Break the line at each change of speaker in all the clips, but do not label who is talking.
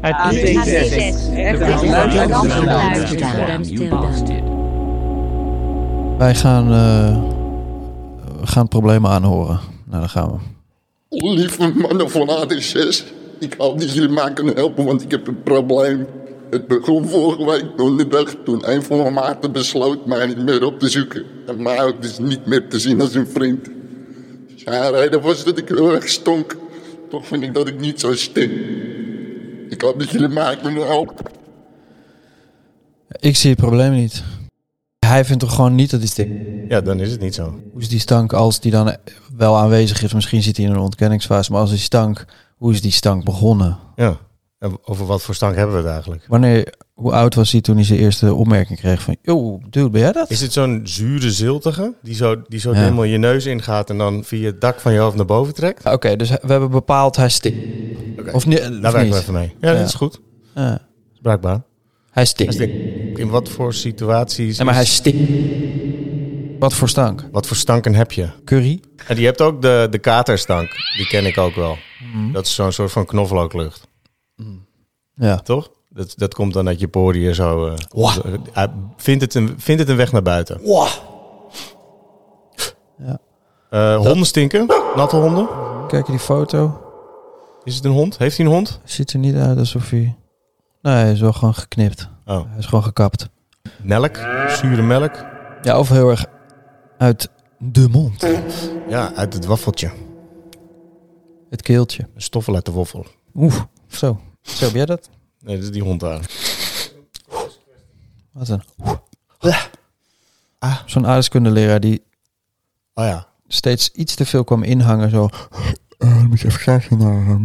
Het
is-
Wij gaan, eh, we gaan problemen aanhoren. Nou, daar gaan we.
Lieve mannen van AD6, ik hoop dat jullie mij kunnen helpen, want ik heb een probleem. Het begon vorige week donderdag toen een van mijn maten besloot mij niet meer op te zoeken. En mij ook dus niet meer te zien als een vriend. Zijn reden was dat ik heel erg stonk. Toch vind ik dat ik niet zo stink. Ik hoop dat jullie mij kunnen helpen.
Ik zie het probleem niet. Hij vindt toch gewoon niet dat hij stinkt.
Ja, dan is het niet zo.
Hoe is die stank als die dan wel aanwezig is? Misschien zit hij in een ontkenningsfase, maar als die stank, hoe is die stank begonnen?
Ja. En over wat voor stank hebben we het eigenlijk?
Wanneer, hoe oud was hij toen hij zijn eerste opmerking kreeg van, yo, dude, ben jij dat?
Is het zo'n zure ziltige die zo, die zo
Ja.
helemaal je neus ingaat en dan via het dak van je hoofd naar boven trekt?
Oké, dus we hebben bepaald hij stinkt. Of, ni- of
Daar werken
niet?
we even mee. Ja,
Ja.
dat is goed.
Ja.
Bruikbaar.
Hij stinkt.
Dus ik denk, in wat voor situaties,
Nee, maar hij stinkt. Wat voor stank?
wat voor stanken heb je?
Curry?
En je hebt ook de, de katerstank. Die ken ik ook wel.
Mhm.
Dat is zo'n soort van knoflooklucht,
Ja.
toch? Dat, dat komt dan uit je poriën zo. eh,
Wah.
zo- eh, vindt, het een, vindt het een weg naar buiten.
Ja.
Eh, honden stinken. Natte honden.
Kijk die foto.
Is het een hond? Heeft hij een hond?
Ziet er niet uit alsof hij... Nee, hij is wel gewoon geknipt.
Oh.
Hij is gewoon gekapt.
Melk, zure melk.
Ja, of heel erg uit de mond.
Ja, uit het waffeltje.
Het keeltje.
Stoffel uit de woffel.
Oeh, zo. Zo, heb jij dat?
Nee, dat is die hond daar.
Wat een... Ah, Zo'n aardeskundeleraar die
Oh ja.
steeds iets te veel kwam inhangen. Zo,
Eh, dan moet je even kijken naar... ehm,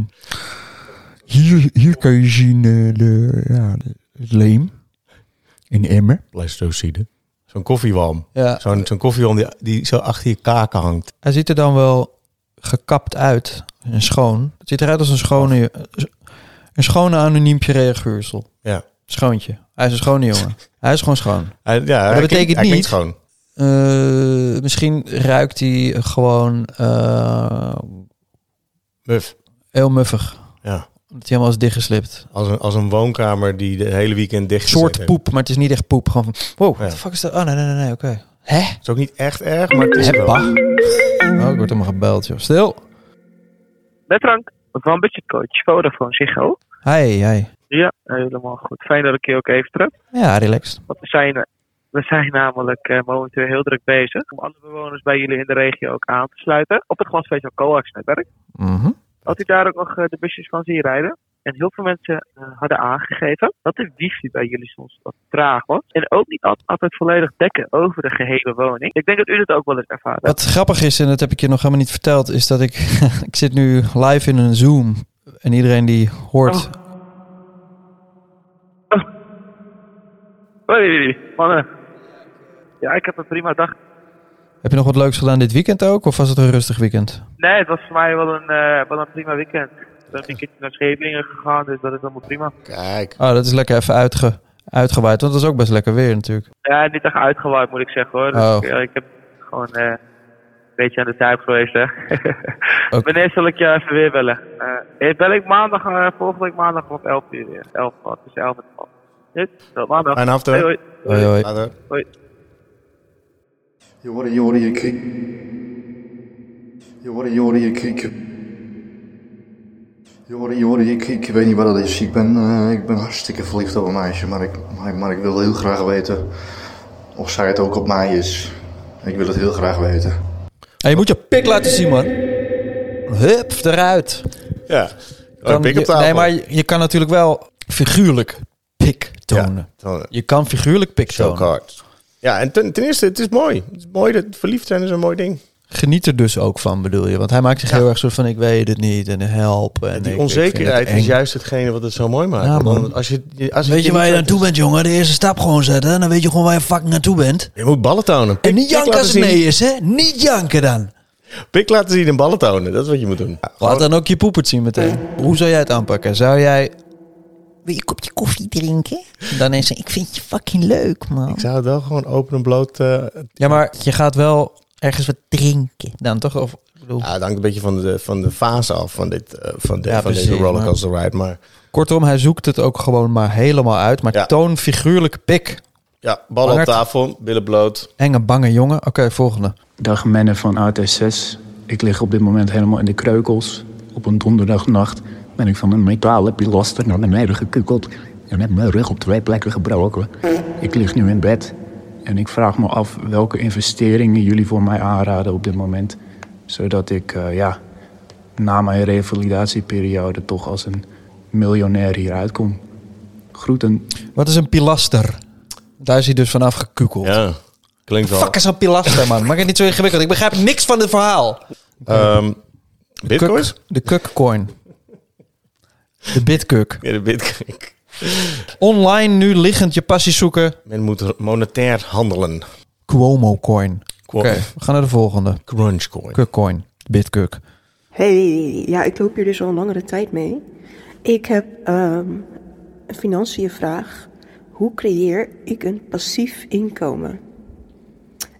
hier, hier kan je zien eh, de, ja, de- het leem in de emmer.
Pleistocide. Zo'n koffiewalm.
ja,
Zo'n zo'n koffiewalm die, die zo achter je kaken hangt.
hij ziet er dan wel gekapt uit. En schoon. Het ziet eruit als een schone... Een schone anoniempje reaguursel.
Ja.
Schoontje. Hij is een schone jongen. Hij is gewoon schoon.
Hij- ja dat
betekent niet-
gewoon.
Eh, misschien ruikt hij gewoon eh,
Muf.
heel muffig.
Ja.
Omdat hij helemaal is dichtgeslipt.
Als een, als een woonkamer die de hele weekend dicht
Een
is.
soort poep, maar het is niet echt poep. Gewoon van, wow, what
Ja.
the fuck is dat? Oh, nee, nee, nee, nee oké. Hè?
Het is ook niet echt erg, maar het is
Hè,
wel.
pa? Oh, ik word helemaal gebeld, joh. Stil.
Met Frank van Budgetcoach Vodafone Ziggo.
Hey, hey.
Ja, helemaal goed. Fijn dat ik je ook even terug.
Ja, relaxed.
Want we zijn, eh, we zijn namelijk eh, momenteel heel druk bezig om alle bewoners bij jullie in de regio ook aan te sluiten op het glasvezel coax netwerk.
Mhm.
Had u daar ook nog eh, de busjes van zien rijden? En heel veel mensen eh, hadden aangegeven dat de wifi bij jullie soms wat traag was. En ook niet al- altijd volledig dekken over de gehele woning. Ik denk dat u dat ook wel eens ervaren hebt.
Wat grappig is, en dat heb ik je nog helemaal niet verteld, is dat ik, ik zit nu live in een Zoom. En iedereen die hoort...
Oh. Hoi, jullie, mannen. Ja, ik heb een prima dag.
Heb je nog wat leuks gedaan dit weekend ook? Of was het een rustig weekend?
Nee, het was voor mij wel een, eh, wel een prima weekend. Ik ben een keertje naar Scheveningen gegaan, dus dat is allemaal prima.
Kijk.
Oh, dat is lekker even uitge, uitgewaaid. Want het is ook best lekker weer natuurlijk.
Ja, niet echt uitgewaaid moet ik zeggen hoor. Dus
Oh.
ik, eh, ik heb gewoon eh, een beetje aan de zuip geweest hè. Wanneer zal ik je even weer bellen? Eh, ik bel ik maandag, eh, volgende week maandag om 11 uur weer. 11 uur, tussen 11 en 12. Goed, tot maandag.
Fijne avond, hè.
Hoi, hoi.
Hoi, hoi.
Later.
Hoi.
Jorden, jorden, je kriek. Jorden, jorden, je kriek. Jorden, jorden, je kriek. Ik weet niet wat dat is. Ik ben, eh, ik ben hartstikke verliefd op een meisje, maar ik, maar, ik- maar ik wil heel graag weten of zij het ook op mij is. Ik wil het heel graag weten.
En je moet je pik laten zien, man. Hup, eruit.
Ja.
Kan
Oh, pik op
je-
tafel.
nee, maar je, je kan natuurlijk wel figuurlijk pik tonen.
Ja.
Je kan figuurlijk pik
Zo
tonen.
hard. Ja, en ten, ten eerste, het is mooi. Het is mooi dat verliefd zijn is een mooi ding.
geniet er dus ook van, bedoel je? Want hij maakt zich heel erg soort van, ik weet het niet en help. En ik-
Die
ik vind
onzekerheid
het
is
eng.
juist hetgene wat het zo mooi maakt.
Ja,
Want
man.
dan als je, als
Weet je waar je naartoe bent, jongen? De eerste stap gewoon zetten. En dan weet je gewoon waar je fucking naartoe bent.
Je moet ballen tonen.
En niet
Pik
janken
laten
als het
zien.
nee is, hè? Niet janken dan.
Pik laten zien en ballen tonen. Dat is wat je moet doen.
Laat dan ook je poepert zien meteen. Hoe zou jij het aanpakken? Zou jij...
Wil je een kopje koffie drinken?
Dan eens... Ik
Vind je fucking leuk, man.
Ik zou het wel gewoon open en bloot... eh,
Ja, maar je gaat wel
Ergens wat drinken.
dan toch... Of, ik bedoel,
ja, het hangt een beetje van de, van de fase af van, dit, eh, van, de,
Ja,
van deze
precies,
rollercoaster ride. Maar
Kortom, hij zoekt het ook gewoon maar helemaal uit. Maar
Ja.
toon figuurlijke pik.
ja, ballen
Bangert.
op tafel, billen bloot.
Enge bange jongen. Oké, volgende.
Dag Menne van AT6. Ik lig op dit moment helemaal in de kreukels. Op een donderdagnacht ben ik van een metalen pilaster naar beneden gekukeld. En heb mijn rug op twee plekken gebroken. Ik lig nu in bed. En ik vraag me af welke investeringen jullie voor mij aanraden op dit moment. Zodat ik eh, ja, na mijn revalidatieperiode toch als een miljonair hieruit kom. Groeten.
Wat is een pilaster? Daar is hij dus vanaf gekukeld.
Ja, klinkt wel.
Fuck is een pilaster, man. Maak het niet zo ingewikkeld. Ik begrijp niks van het verhaal.
Ehm, bitcoins?
Kuk- de kukcoin. De bitkuk.
Ja, de bitcoin.
Online nu liggend je passie zoeken.
Men moet monetair handelen.
Cuomo coin.
Qua-
Oké, we gaan naar de volgende.
Crunchcoin.
Kukcoin. Bitkuk.
Hey, ja, ik loop hier dus al een langere tijd mee. Ik heb ehm, een financiënvraag. Hoe creëer ik een passief inkomen?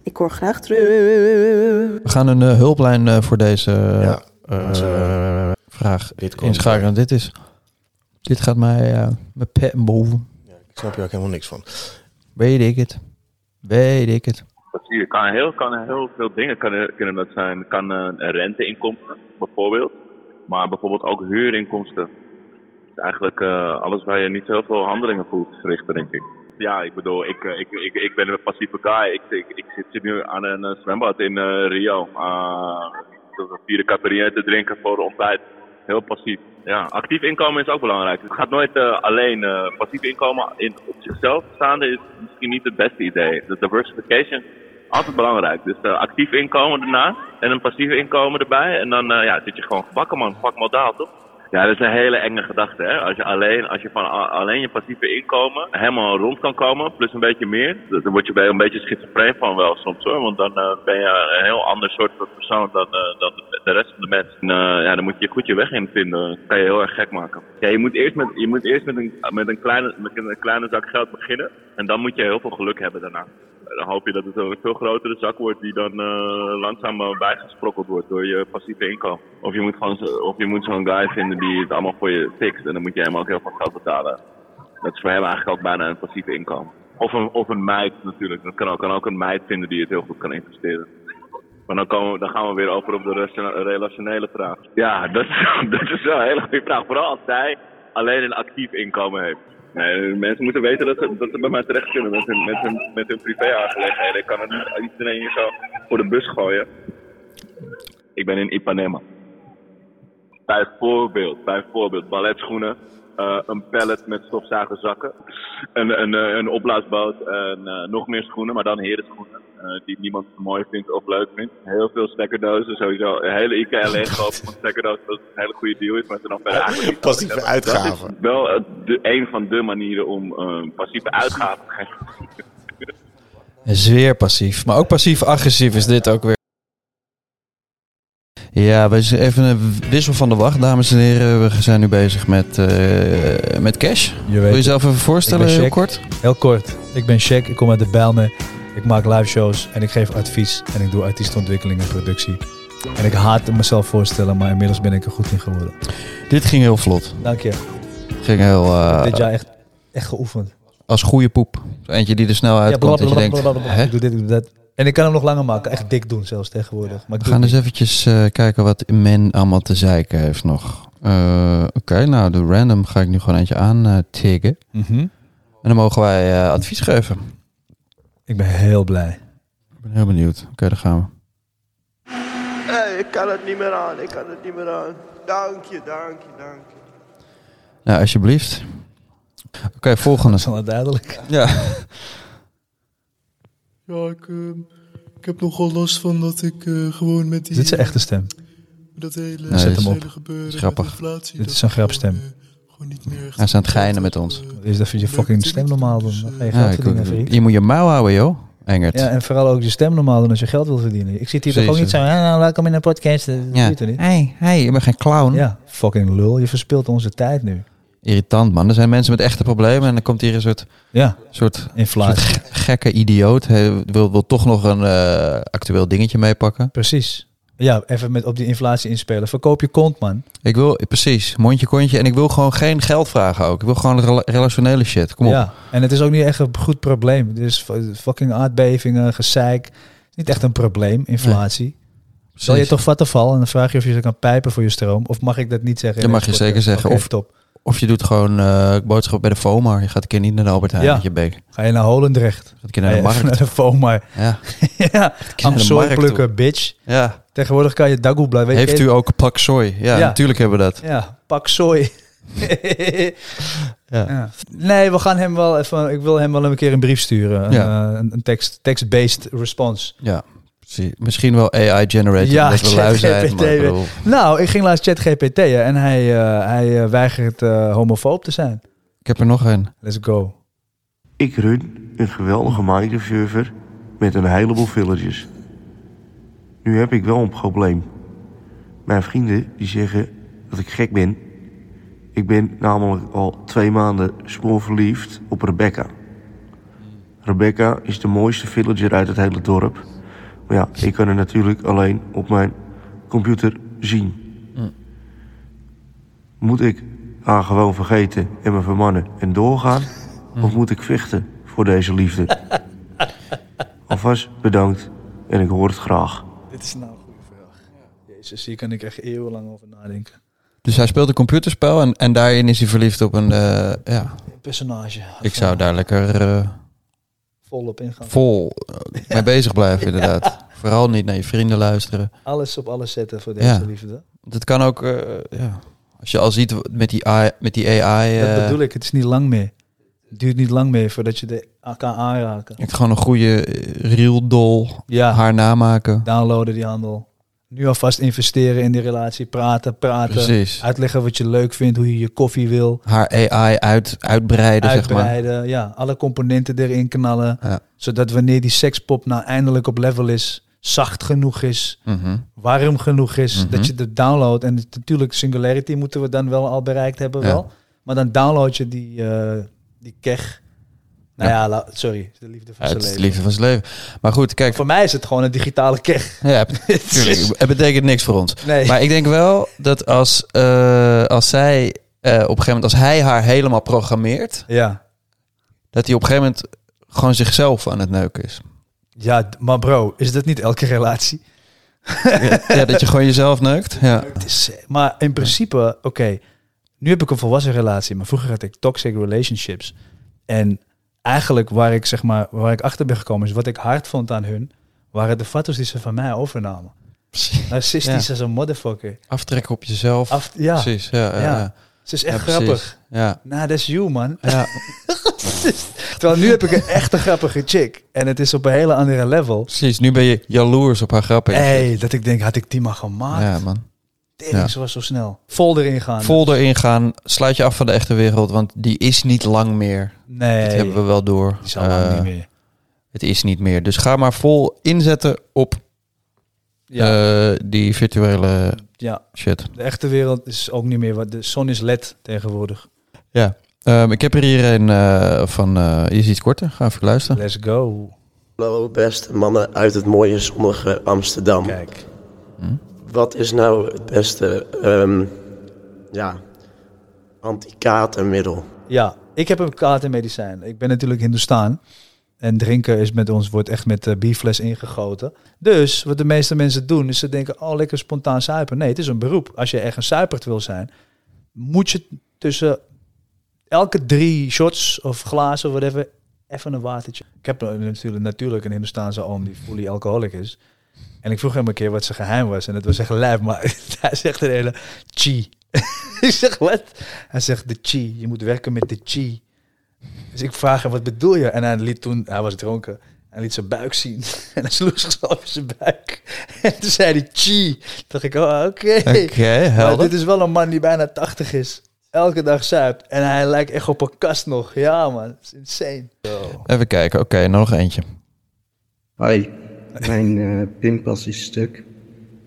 Ik hoor graag terug.
We gaan een eh, hulplijn eh, voor deze eh,
Ja,
eh,
dat is, eh,
vraag
Bitcoin.
inschakelen. Dit is... Dit gaat mij... eh mijn pet boven.
Ik snap je ook helemaal niks van.
Weet ik het. Weet ik het.
Dat zie je. Kan heel, kan heel veel dingen kan, kunnen dat zijn. Kan eh, een renteinkomsten bijvoorbeeld. Maar bijvoorbeeld ook huurinkomsten. Dus eigenlijk eh, alles waar je niet heel veel handelingen voelt richten, denk ik. Ja, ik bedoel, ik, eh, ik, ik, ik ben een passieve guy. Ik, ik, ik zit, zit nu aan een eh, zwembad in eh, Rio. Uh, vierde categorie te drinken voor de ontbijt. Heel passief. Ja, actief inkomen is ook belangrijk. Het gaat nooit eh, alleen. eh, passief inkomen in, op zichzelf staande is misschien niet het beste idee. De diversification altijd belangrijk. Dus eh, actief inkomen daarna en een passief inkomen erbij. En dan eh, ja, zit je gewoon gebakken man, fuck modaal toch? Ja, dat is een hele enge gedachte. Hè? Als je, alleen, als je van a- alleen je passieve inkomen helemaal rond kan komen, plus een beetje meer, dan dan word je bij een beetje schizofreen van wel soms hoor. Want dan eh, ben je een heel ander soort van persoon dan, eh, dan de- de rest van de mensen. En, eh, ja, dan moet je goed je weg in vinden. Dat kan je heel erg gek maken. Ja, je moet eerst met, je moet eerst met, een, met, een, kleine, met een kleine zak geld beginnen. En dan moet je heel veel geluk hebben daarna. Dan hoop je dat het een veel grotere zak wordt die dan eh, langzaam eh, bijgesprokkeld wordt door je passieve inkomen. Of je moet gewoon zo- of je moet zo'n guy vinden die het allemaal voor je fixt en dan moet je hem ook heel veel geld betalen. Dat is voor hem eigenlijk ook bijna een passieve inkomen. Of een, of een meid natuurlijk. Dat kan ook, kan ook een meid vinden die het heel goed kan investeren. Maar dan, komen, we- dan gaan we weer over op de rationa- relationele vraag. Ja, dat, is- dat is wel een hele goede vraag. Vooral als zij alleen een actief inkomen heeft. Nee, mensen moeten weten dat ze, dat ze bij mij terecht kunnen met hun, met hun, met hun privé aangelegenheden. Ik kan het niet niet iedereen hier zo voor de bus gooien. Ik ben in Ipanema. Bijvoorbeeld, bijvoorbeeld balletschoenen, eh, een pallet met stofzuigerzakken, een, een, eh, een opblaasboot en eh, nog meer schoenen, maar dan herenschoenen. eh, die niemand mooi vindt of leuk vindt. Heel veel stekkerdozen, sowieso. Een hele IKEA leeglopen van stekkerdozen, dat het een hele goede deal is, maar ze dan verder eigenlijk niet nodig
Passieve
hebben.
uitgaven.
Wel eh, de, een van de manieren om eh, passieve uitgaven te geven.
Zeer passief. Maar ook passief-agressief is dit ook weer. Ja, we zijn even een wissel van de wacht, dames en heren. We zijn nu bezig met, eh, met cash.
Je
Wil je
weet,
jezelf even voorstellen,
Ik ben
heel
Jack.
kort?
heel kort. Ik ben Shaq, ik kom uit de Bijlmer. Ik maak live shows en ik geef advies. En ik doe artiesteontwikkeling en productie. En ik haat het mezelf voorstellen, maar inmiddels ben ik er goed in geworden.
Dit ging heel vlot.
Dank je.
Ging heel eh,
Dit jaar echt, echt geoefend.
als goede poep. Zo Eentje die er snel
Ja,
uitkomt dat je denkt,
blablabla.
hè?
Ik doe dit, ik doe dat. En ik kan hem nog langer maken. Echt dik doen zelfs tegenwoordig. Maar ik
We
doe
gaan
het
eens eventjes eh, kijken wat men allemaal te zeiken heeft nog. Eh, Oké, nou, de random ga ik nu gewoon eentje aantikken.
niet. Mhm.
en dan mogen wij eh, advies geven.
Ik ben heel blij.
Ik ben heel benieuwd. Oké, daar gaan we.
ik kan het niet meer aan, ik kan het niet meer aan. Dank je, dank je, dank je.
Nou, alsjeblieft. Oké, volgende.
Dat is wel duidelijk.
Ja.
Ja, ik, ehm,
Ik heb nogal last van dat ik eh, gewoon met die...
Dit is zijn echte stem.
Dat hele,
Zet hem
dat
op.
hele gebeuren
Is
met
grappig.
inflatie,
Dit
dat
is een grapstem.
Hij is aan het geinen met ons.
Is dat je fucking stem normaal doen? Dan ga je
Ja,
geld
ik-
verdienen, vriend.
je moet je mouw houden, joh. Engert.
Ja, en vooral ook je stem normaal doen als je geld wil verdienen. Ik zit hier toch ook
Precies.
niet zo, "Ah, nou, welkom in een podcast.
Ja.
Ja.
Hey, hey, je bent geen clown.
Ja, fucking lul. Je verspilt onze tijd nu.
Irritant, man. Er zijn mensen met echte problemen en dan komt hier een soort,
Ja.
soort,
Inflatie.
soort ge- gekke idioot. Hij wil, wil toch nog een eh, actueel dingetje meepakken.
Precies. Ja, even met op die inflatie inspelen. Verkoop je kont, man.
Ik wil, precies, mondje kontje. En ik wil gewoon geen geld vragen ook. Ik wil gewoon rela- relationele shit. Kom op.
Ja, en het is ook niet echt een goed probleem. Er is fu- fucking aardbevingen, gezeik. Het is niet echt een probleem, inflatie. Zal je
Precies.
toch vattenval en dan vraag je of je ze kan pijpen voor je stroom? Of mag ik dat niet zeggen?
Dat mag je zeker zeggen.
Of
Of- Of je doet gewoon eh boodschap bij de FOMA. Je gaat een keer niet naar de Albert Heijn
Ja.
met je bek.
Ga je naar Holendrecht?
Gaat een keer naar de
Ga je even
markt.
naar de FOMA.
Ja.
ja,
naar de
Amsooi
markt
plukken,
toe.
bitch.
Ja.
Tegenwoordig kan je dagoe blijven. Weet
Heeft
je-
u ook pak sooi? Ja,
Ja.
natuurlijk hebben we dat.
Ja, pak zooi.
Ja.
Ja. Nee, we gaan hem wel even. Ik wil hem wel een keer een brief sturen.
Ja.
Een, eh, een, een tekst- text-based response.
Ja, precies. Misschien wel AI-generated.
Ja,
dat we lui zijn.
ChatGPT.
Maar, ik bedoel,
Nou, ik ging laatst ChatGPT'en en hij, eh, hij eh, weigert eh, homofoob te zijn.
ik heb er nog een.
Let's go.
Ik run een geweldige Minecraft-server met een heleboel villagers. Nu heb ik wel een probleem. Mijn vrienden die zeggen dat ik gek ben. Ik ben namelijk al twee maanden smoor verliefd op Rebecca. Rebecca is de mooiste villager uit het hele dorp. Maar ja, ik kan haar natuurlijk alleen op mijn computer zien. Moet ik haar gewoon vergeten en me vermannen en doorgaan? Of moet ik vechten voor deze liefde? Alvast bedankt en ik hoor het graag.
Dit is nou een goede vraag. Jezus, hier kan ik echt eeuwenlang over nadenken.
Dus hij speelt een computerspel en, en daarin is hij verliefd op een... eh, ja,
Een personage.
ik zou daar lekker eh,
Volop ingaan.
vol eh, mee bezig blijven inderdaad. Vooral niet naar je vrienden luisteren.
Alles op alles zetten voor deze
Ja.
liefde.
Dat kan ook... eh, ja. Als je al ziet met die AI... Met die AI
Dat
eh,
bedoel ik, het is niet lang meer. Het duurt niet lang meer voordat je de kan aanraken.
ik gewoon een goede eh, real doll
Ja.
haar namaken.
Downloaden die handel. Nu alvast investeren in die relatie. Praten, praten.
Precies.
Uitleggen wat je leuk vindt, hoe je je koffie wil.
Haar AI uit, uitbreiden, zeg
uitbreiden. Ja, alle componenten erin knallen.
Ja.
Zodat wanneer die sekspop nou eindelijk op level is, zacht genoeg is,
maar. Mhm.
warm genoeg is,
Mhm.
dat je het downloadt. En het- natuurlijk, singularity moeten we dan wel al bereikt hebben.
Ja.
Wel. Maar dan download je die, eh, die kech. Nou ja,
Ja.
la- sorry, de liefde van
Ja,
zijn
het is de
leven.
liefde van zijn leven. Maar goed, kijk.
Voor mij is het gewoon een digitale kech.
Ja, tuurlijk. Het betekent niks voor ons.
Nee.
Maar ik denk wel dat als, eh, als zij eh, op een gegeven moment, als hij haar helemaal programmeert,
Ja.
dat hij op een gegeven moment gewoon zichzelf aan het neuken is.
Ja, d- maar bro, is dat niet elke relatie?
ja, dat je gewoon jezelf neukt. Ja.
Het is, maar in principe, oké, nu heb ik een volwassen relatie, maar vroeger had ik toxic relationships. En eigenlijk waar ik, zeg maar, waar ik achter ben gekomen is wat ik hard vond aan hun, waren de foto's die ze van mij overnamen. Narcistisch
Ja.
als een motherfucker.
Aftrekken op jezelf.
Af- ja.
Precies. Ja, ja, ja.
Ze is echt
Ja, precies.
grappig.
Ja.
Nou, dat is you, man.
Ja.
Terwijl nu heb ik een echte grappige chick. En het is op een hele andere level.
Precies. Nu ben je jaloers op haar grappen.
hey, dat ik denk, had ik die maar gemaakt?
Ja, man.
Tering,
Ja.
ze was zo snel. Vol erin gaan.
Vol erin gaan, sluit je af van de echte wereld, want die is niet lang meer.
Nee.
Dat hebben we wel door.
Die is al lang
Eh,
niet meer.
Het is niet meer. Dus ga maar vol inzetten op eh, die virtuele
Ja.
shit.
De echte wereld is ook niet meer wat. De zon is led tegenwoordig.
Ja. Ehm, ik heb er hier een eh, van, eh, die is iets korter, ga even luisteren.
Let's go.
Hallo beste mannen uit het mooie zonnige Amsterdam.
Kijk.
Wat is nou het beste ehm ja, anti-katermiddel?
Ja, ik heb een katermedicijn. Ik ben natuurlijk Hindoestaan. En drinken is met ons, wordt echt met eh, bierfles ingegoten. Dus wat de meeste mensen doen, is ze denken, oh lekker spontaan suipen. Nee, het is een beroep. Als je echt een suipert wil zijn, moet je tussen elke drie shots of glazen of whatever, even een watertje. Ik heb een- natuurlijk, natuurlijk een Hindoestaanse oom die fully alcoholic is. En ik vroeg hem een keer wat zijn geheim was. En het was echt lijp, maar hij zegt een hele chi. ik zeg, wat? Hij zegt, de chi. Je moet werken met de chi. Dus ik vraag hem, wat bedoel je? En hij liet toen, hij was dronken. Hij liet zijn buik zien. En hij sloeg zichzelf in zijn buik. En toen zei hij chi. Toen dacht ik, oh, oké.
Oké, helder.
maar dit is wel een man die bijna 80 is. Elke dag zuipt. En hij lijkt echt op een kast nog. Ja, man. Dat is insane.
Even kijken, oké, nog eentje.
Hoi, mijn eh, pinpas is stuk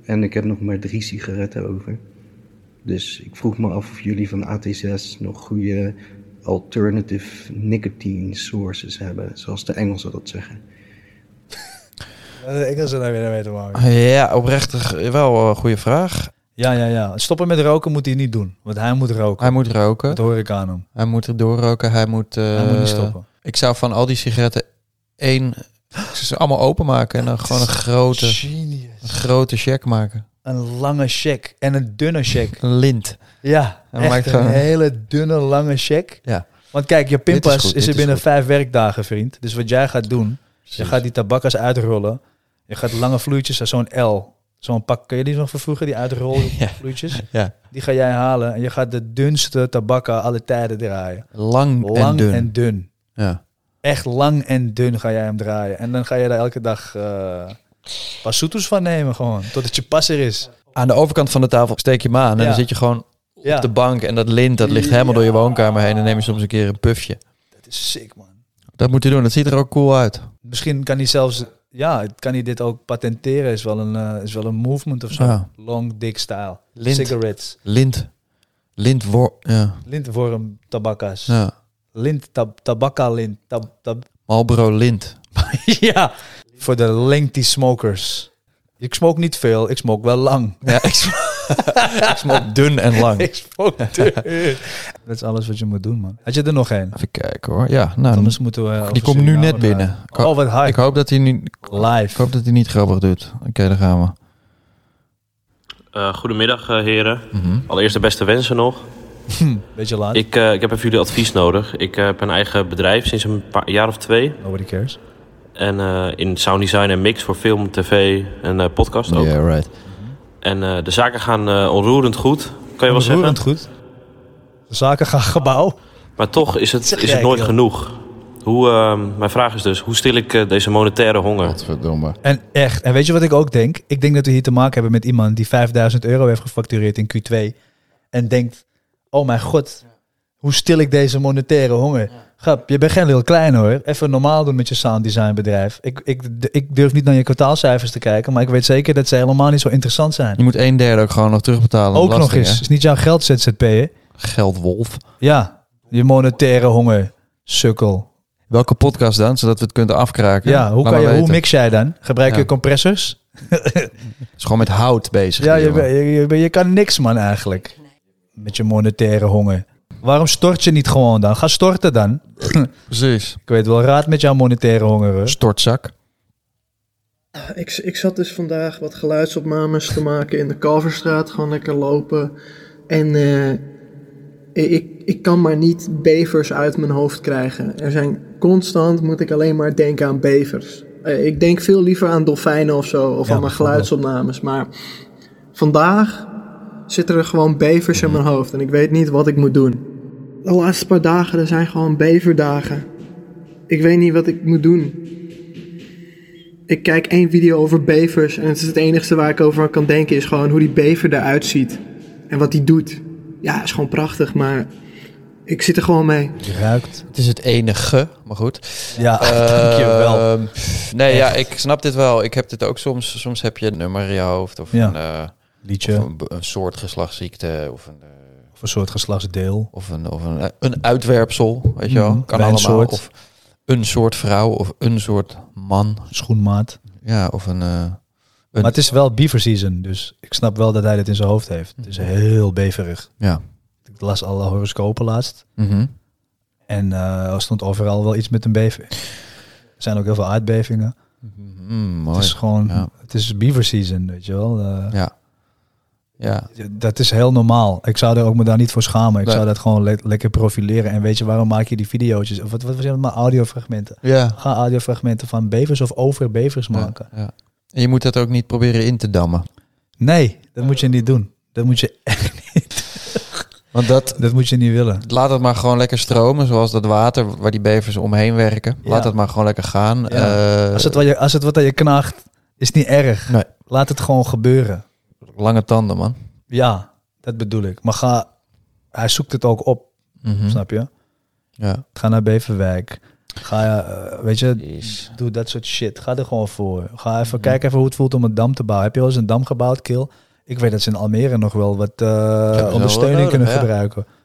en ik heb nog maar drie sigaretten over. Dus ik vroeg me af of jullie van AT6 nog goede alternative nicotine sources hebben, zoals de Engelsen dat zeggen.
Ik kan ze daar weer mee te maken.
Ja, oprecht eh, wel een goede vraag.
Ja, ja, ja. Stoppen met roken moet hij niet doen. Want hij moet roken.
Hij moet roken.
Dat hoor ik aan hem.
Hij moet er doorroken, hij moet... eh,
Hij moet niet stoppen.
Ik zou van al die sigaretten één... Ik zou ze allemaal openmaken en dan gewoon een grote... Een grote check maken.
Een lange check en een dunne check.
Een lint.
Ja,
Hij
echt
maakt
een
gewoon-
hele dunne, lange check.
Ja.
Want kijk, je
Dit is
pinpas is,
goed, dit
er
is
binnen
goed.
vijf werkdagen, vriend. Dus wat jij gaat doen, je gaat die tabakkas uitrollen. Je gaat lange vloeitjes, zo'n L. Zo'n pak, kun je die nog van vroeger, die uitrollen vloeitjes?
Ja.
Die ga jij halen en je gaat de dunste tabakka alle tijden draaien.
Lang, en
Lang
dun.
en dun.
Ja.
Echt lang en dun ga jij hem draaien. En dan ga je daar elke dag eh pasutus van nemen gewoon. Totdat je pas er is.
Aan de overkant van de tafel steek je hem aan en
Ja.
dan zit je gewoon
Ja.
op de bank en dat lint dat ligt helemaal door je woonkamer heen en neem je soms een keer een pufje.
Dat is sick, man.
Dat moet je doen, dat ziet er ook cool uit.
Misschien kan hij zelfs... Ja, het- kan hij dit ook patenteren. Is wel een, eh, is wel een movement of zo.
Ja.
Long dick style.
Lint.
Cigarettes.
Lint. Lint wor... Ja.
Lintworm tabakkas.
Ja.
Lint, tab, tabakka lint. Tab, tab.
Marlboro lint.
ja. Voor de lengthy smokers. Ik smoke niet veel, ik smoke wel lang.
Ja, ik smoke, dun en lang.
ik smoke dun. Dat is alles wat je moet doen, man. Had je er nog één?
Even kijken hoor. Ja, nou,
Anders moeten we...
die
over
komt nu
Suriname
net binnen.
praten.
Ik ho-
Oh, wat hype.
Ik hoop dat hij nu...
Live. Ik
hoop dat hij niet grappig doet. Oké, daar gaan we.
Eh, goedemiddag, eh, heren.
Mhm.
Allereerst de beste wensen nog.
Beetje laat.
Ik, eh, ik heb even jullie advies nodig. Ik eh, heb een eigen bedrijf sinds een paar, jaar of twee.
Nobody cares.
En eh, in sound design en mix voor film, tv en eh, podcast ook.
Yeah, right.
En eh, de zaken gaan eh, onroerend goed, kan je wel zeggen.
Onroerend goed. De zaken gaan gebouw.
Maar toch is het,
Zeg
is het
jij,
nooit
joh.
genoeg. Hoe, ehm, mijn vraag is dus, hoe stil ik eh, deze monetaire honger?
Godverdomme.
En echt. En weet je wat ik ook denk? Ik denk dat we hier te maken hebben met iemand die 5000 euro heeft gefactureerd in Q2. En denkt, oh mijn god, hoe stil ik deze monetaire honger. Grap, je bent geen heel klein hoor. Even normaal doen met je sound design bedrijf. Ik, ik, ik durf niet naar je kwartaalcijfers te kijken, maar ik weet zeker dat ze helemaal niet zo interessant zijn.
Je moet een derde ook gewoon nog terugbetalen. aan
Ook nog
belasting,
eens.
hè?
is niet jouw geld ZZP'er.
Geldwolf.
Ja, je monetaire honger. Sukkel.
Welke podcast dan, zodat we het kunnen afkraken?
Ja, hoe,
Laat
kan
maar
je, hoe
weten.
mix jij dan? Gebruik
Ja.
je compressors?
is gewoon met hout bezig.
Ja,
die
je,
jongen.
ben- je, je, ben- je kan niks, man, eigenlijk. Met je monetaire honger. Waarom stort je niet gewoon dan? Ga storten dan.
Precies.
Ik weet wel raad met jouw monetaire honger. Hoor.
Stortzak.
Ik, ik zat dus vandaag wat geluidsopnames te maken in de Kalverstraat. Gewoon lekker lopen. En eh, ik, ik kan maar niet bevers uit mijn hoofd krijgen. Er zijn constant, moet ik alleen maar denken aan bevers. Eh, ik denk veel liever aan dolfijnen of zo. Of
Ja,
aan mijn
bijvoorbeeld.
geluidsopnames. Maar vandaag zitten er gewoon bevers in mijn hoofd. En ik weet niet wat ik moet doen. De laatste paar dagen, er zijn gewoon beverdagen. Ik weet niet wat ik moet doen. Ik kijk één video over bevers en het is het enige waar ik over kan denken is gewoon hoe die bever eruit ziet. En wat die doet. Ja, is gewoon prachtig, maar ik zit er gewoon mee.
ruikt.
Het is het enige, maar goed.
Ja,
Eh,
Ah, dankjewel.
Nee, ja, ik snap dit wel. Ik heb dit ook soms. Soms heb je een nummer in je hoofd of
Ja.
een eh,
Liedje.
of een, be- een soort geslachtsziekte of een, eh,
Of een soort geslachtsdeel.
Of een, of een, eh, een uitwerpsel, weet je wel.
Mhm.
Kan allemaal.
Wijnsoort.
Of een soort vrouw of een soort man.
Schoenmaat.
Ja, of een... eh, een
Maar het is wel beaver season, dus ik snap wel dat hij dit in zijn hoofd heeft. Het is heel beverig.
Ja.
Ik las alle horoscopen laatst.
Mhm.
En eh, er stond overal wel iets met een bever. Er zijn ook heel veel aardbevingen.
mm, mooi.
Het is gewoon,
Ja.
het is beaver season, weet je wel. Eh,
ja. Ja.
Dat is heel normaal. Ik zou er ook me daar niet voor schamen. Ik
Nee.
zou dat gewoon le- lekker profileren. En weet je, waarom maak je die video's? Of wat, wat was het? Maar audiofragmenten.
Ja.
Ga audiofragmenten van bevers of over bevers maken.
ja. En je moet dat ook niet proberen in te dammen.
Nee, dat moet je niet doen. Dat moet je echt niet.
Want dat,
dat moet je niet willen.
Laat het maar gewoon lekker stromen, zoals dat water waar die bevers omheen werken. Laat
Ja.
het maar gewoon lekker gaan.
Ja.
Eh,
als, het wat je, als het wat aan je knaagt, is het niet erg. Laat het gewoon gebeuren.
Lange tanden, man.
Ja, dat bedoel ik. Maar ga, hij zoekt het ook op.
Mhm.
Snap je?
Ja.
Ga naar Beverwijk. Ga, eh, weet je, doe dat soort shit. Ga er gewoon voor. Ga even,
Mhm.
kijk even hoe het voelt om een dam te bouwen. Heb je al eens een dam gebouwd, Kil? Ik weet dat ze in Almere nog wel wat eh,
wel
ondersteuning
nodig,
kunnen
ja.
gebruiken.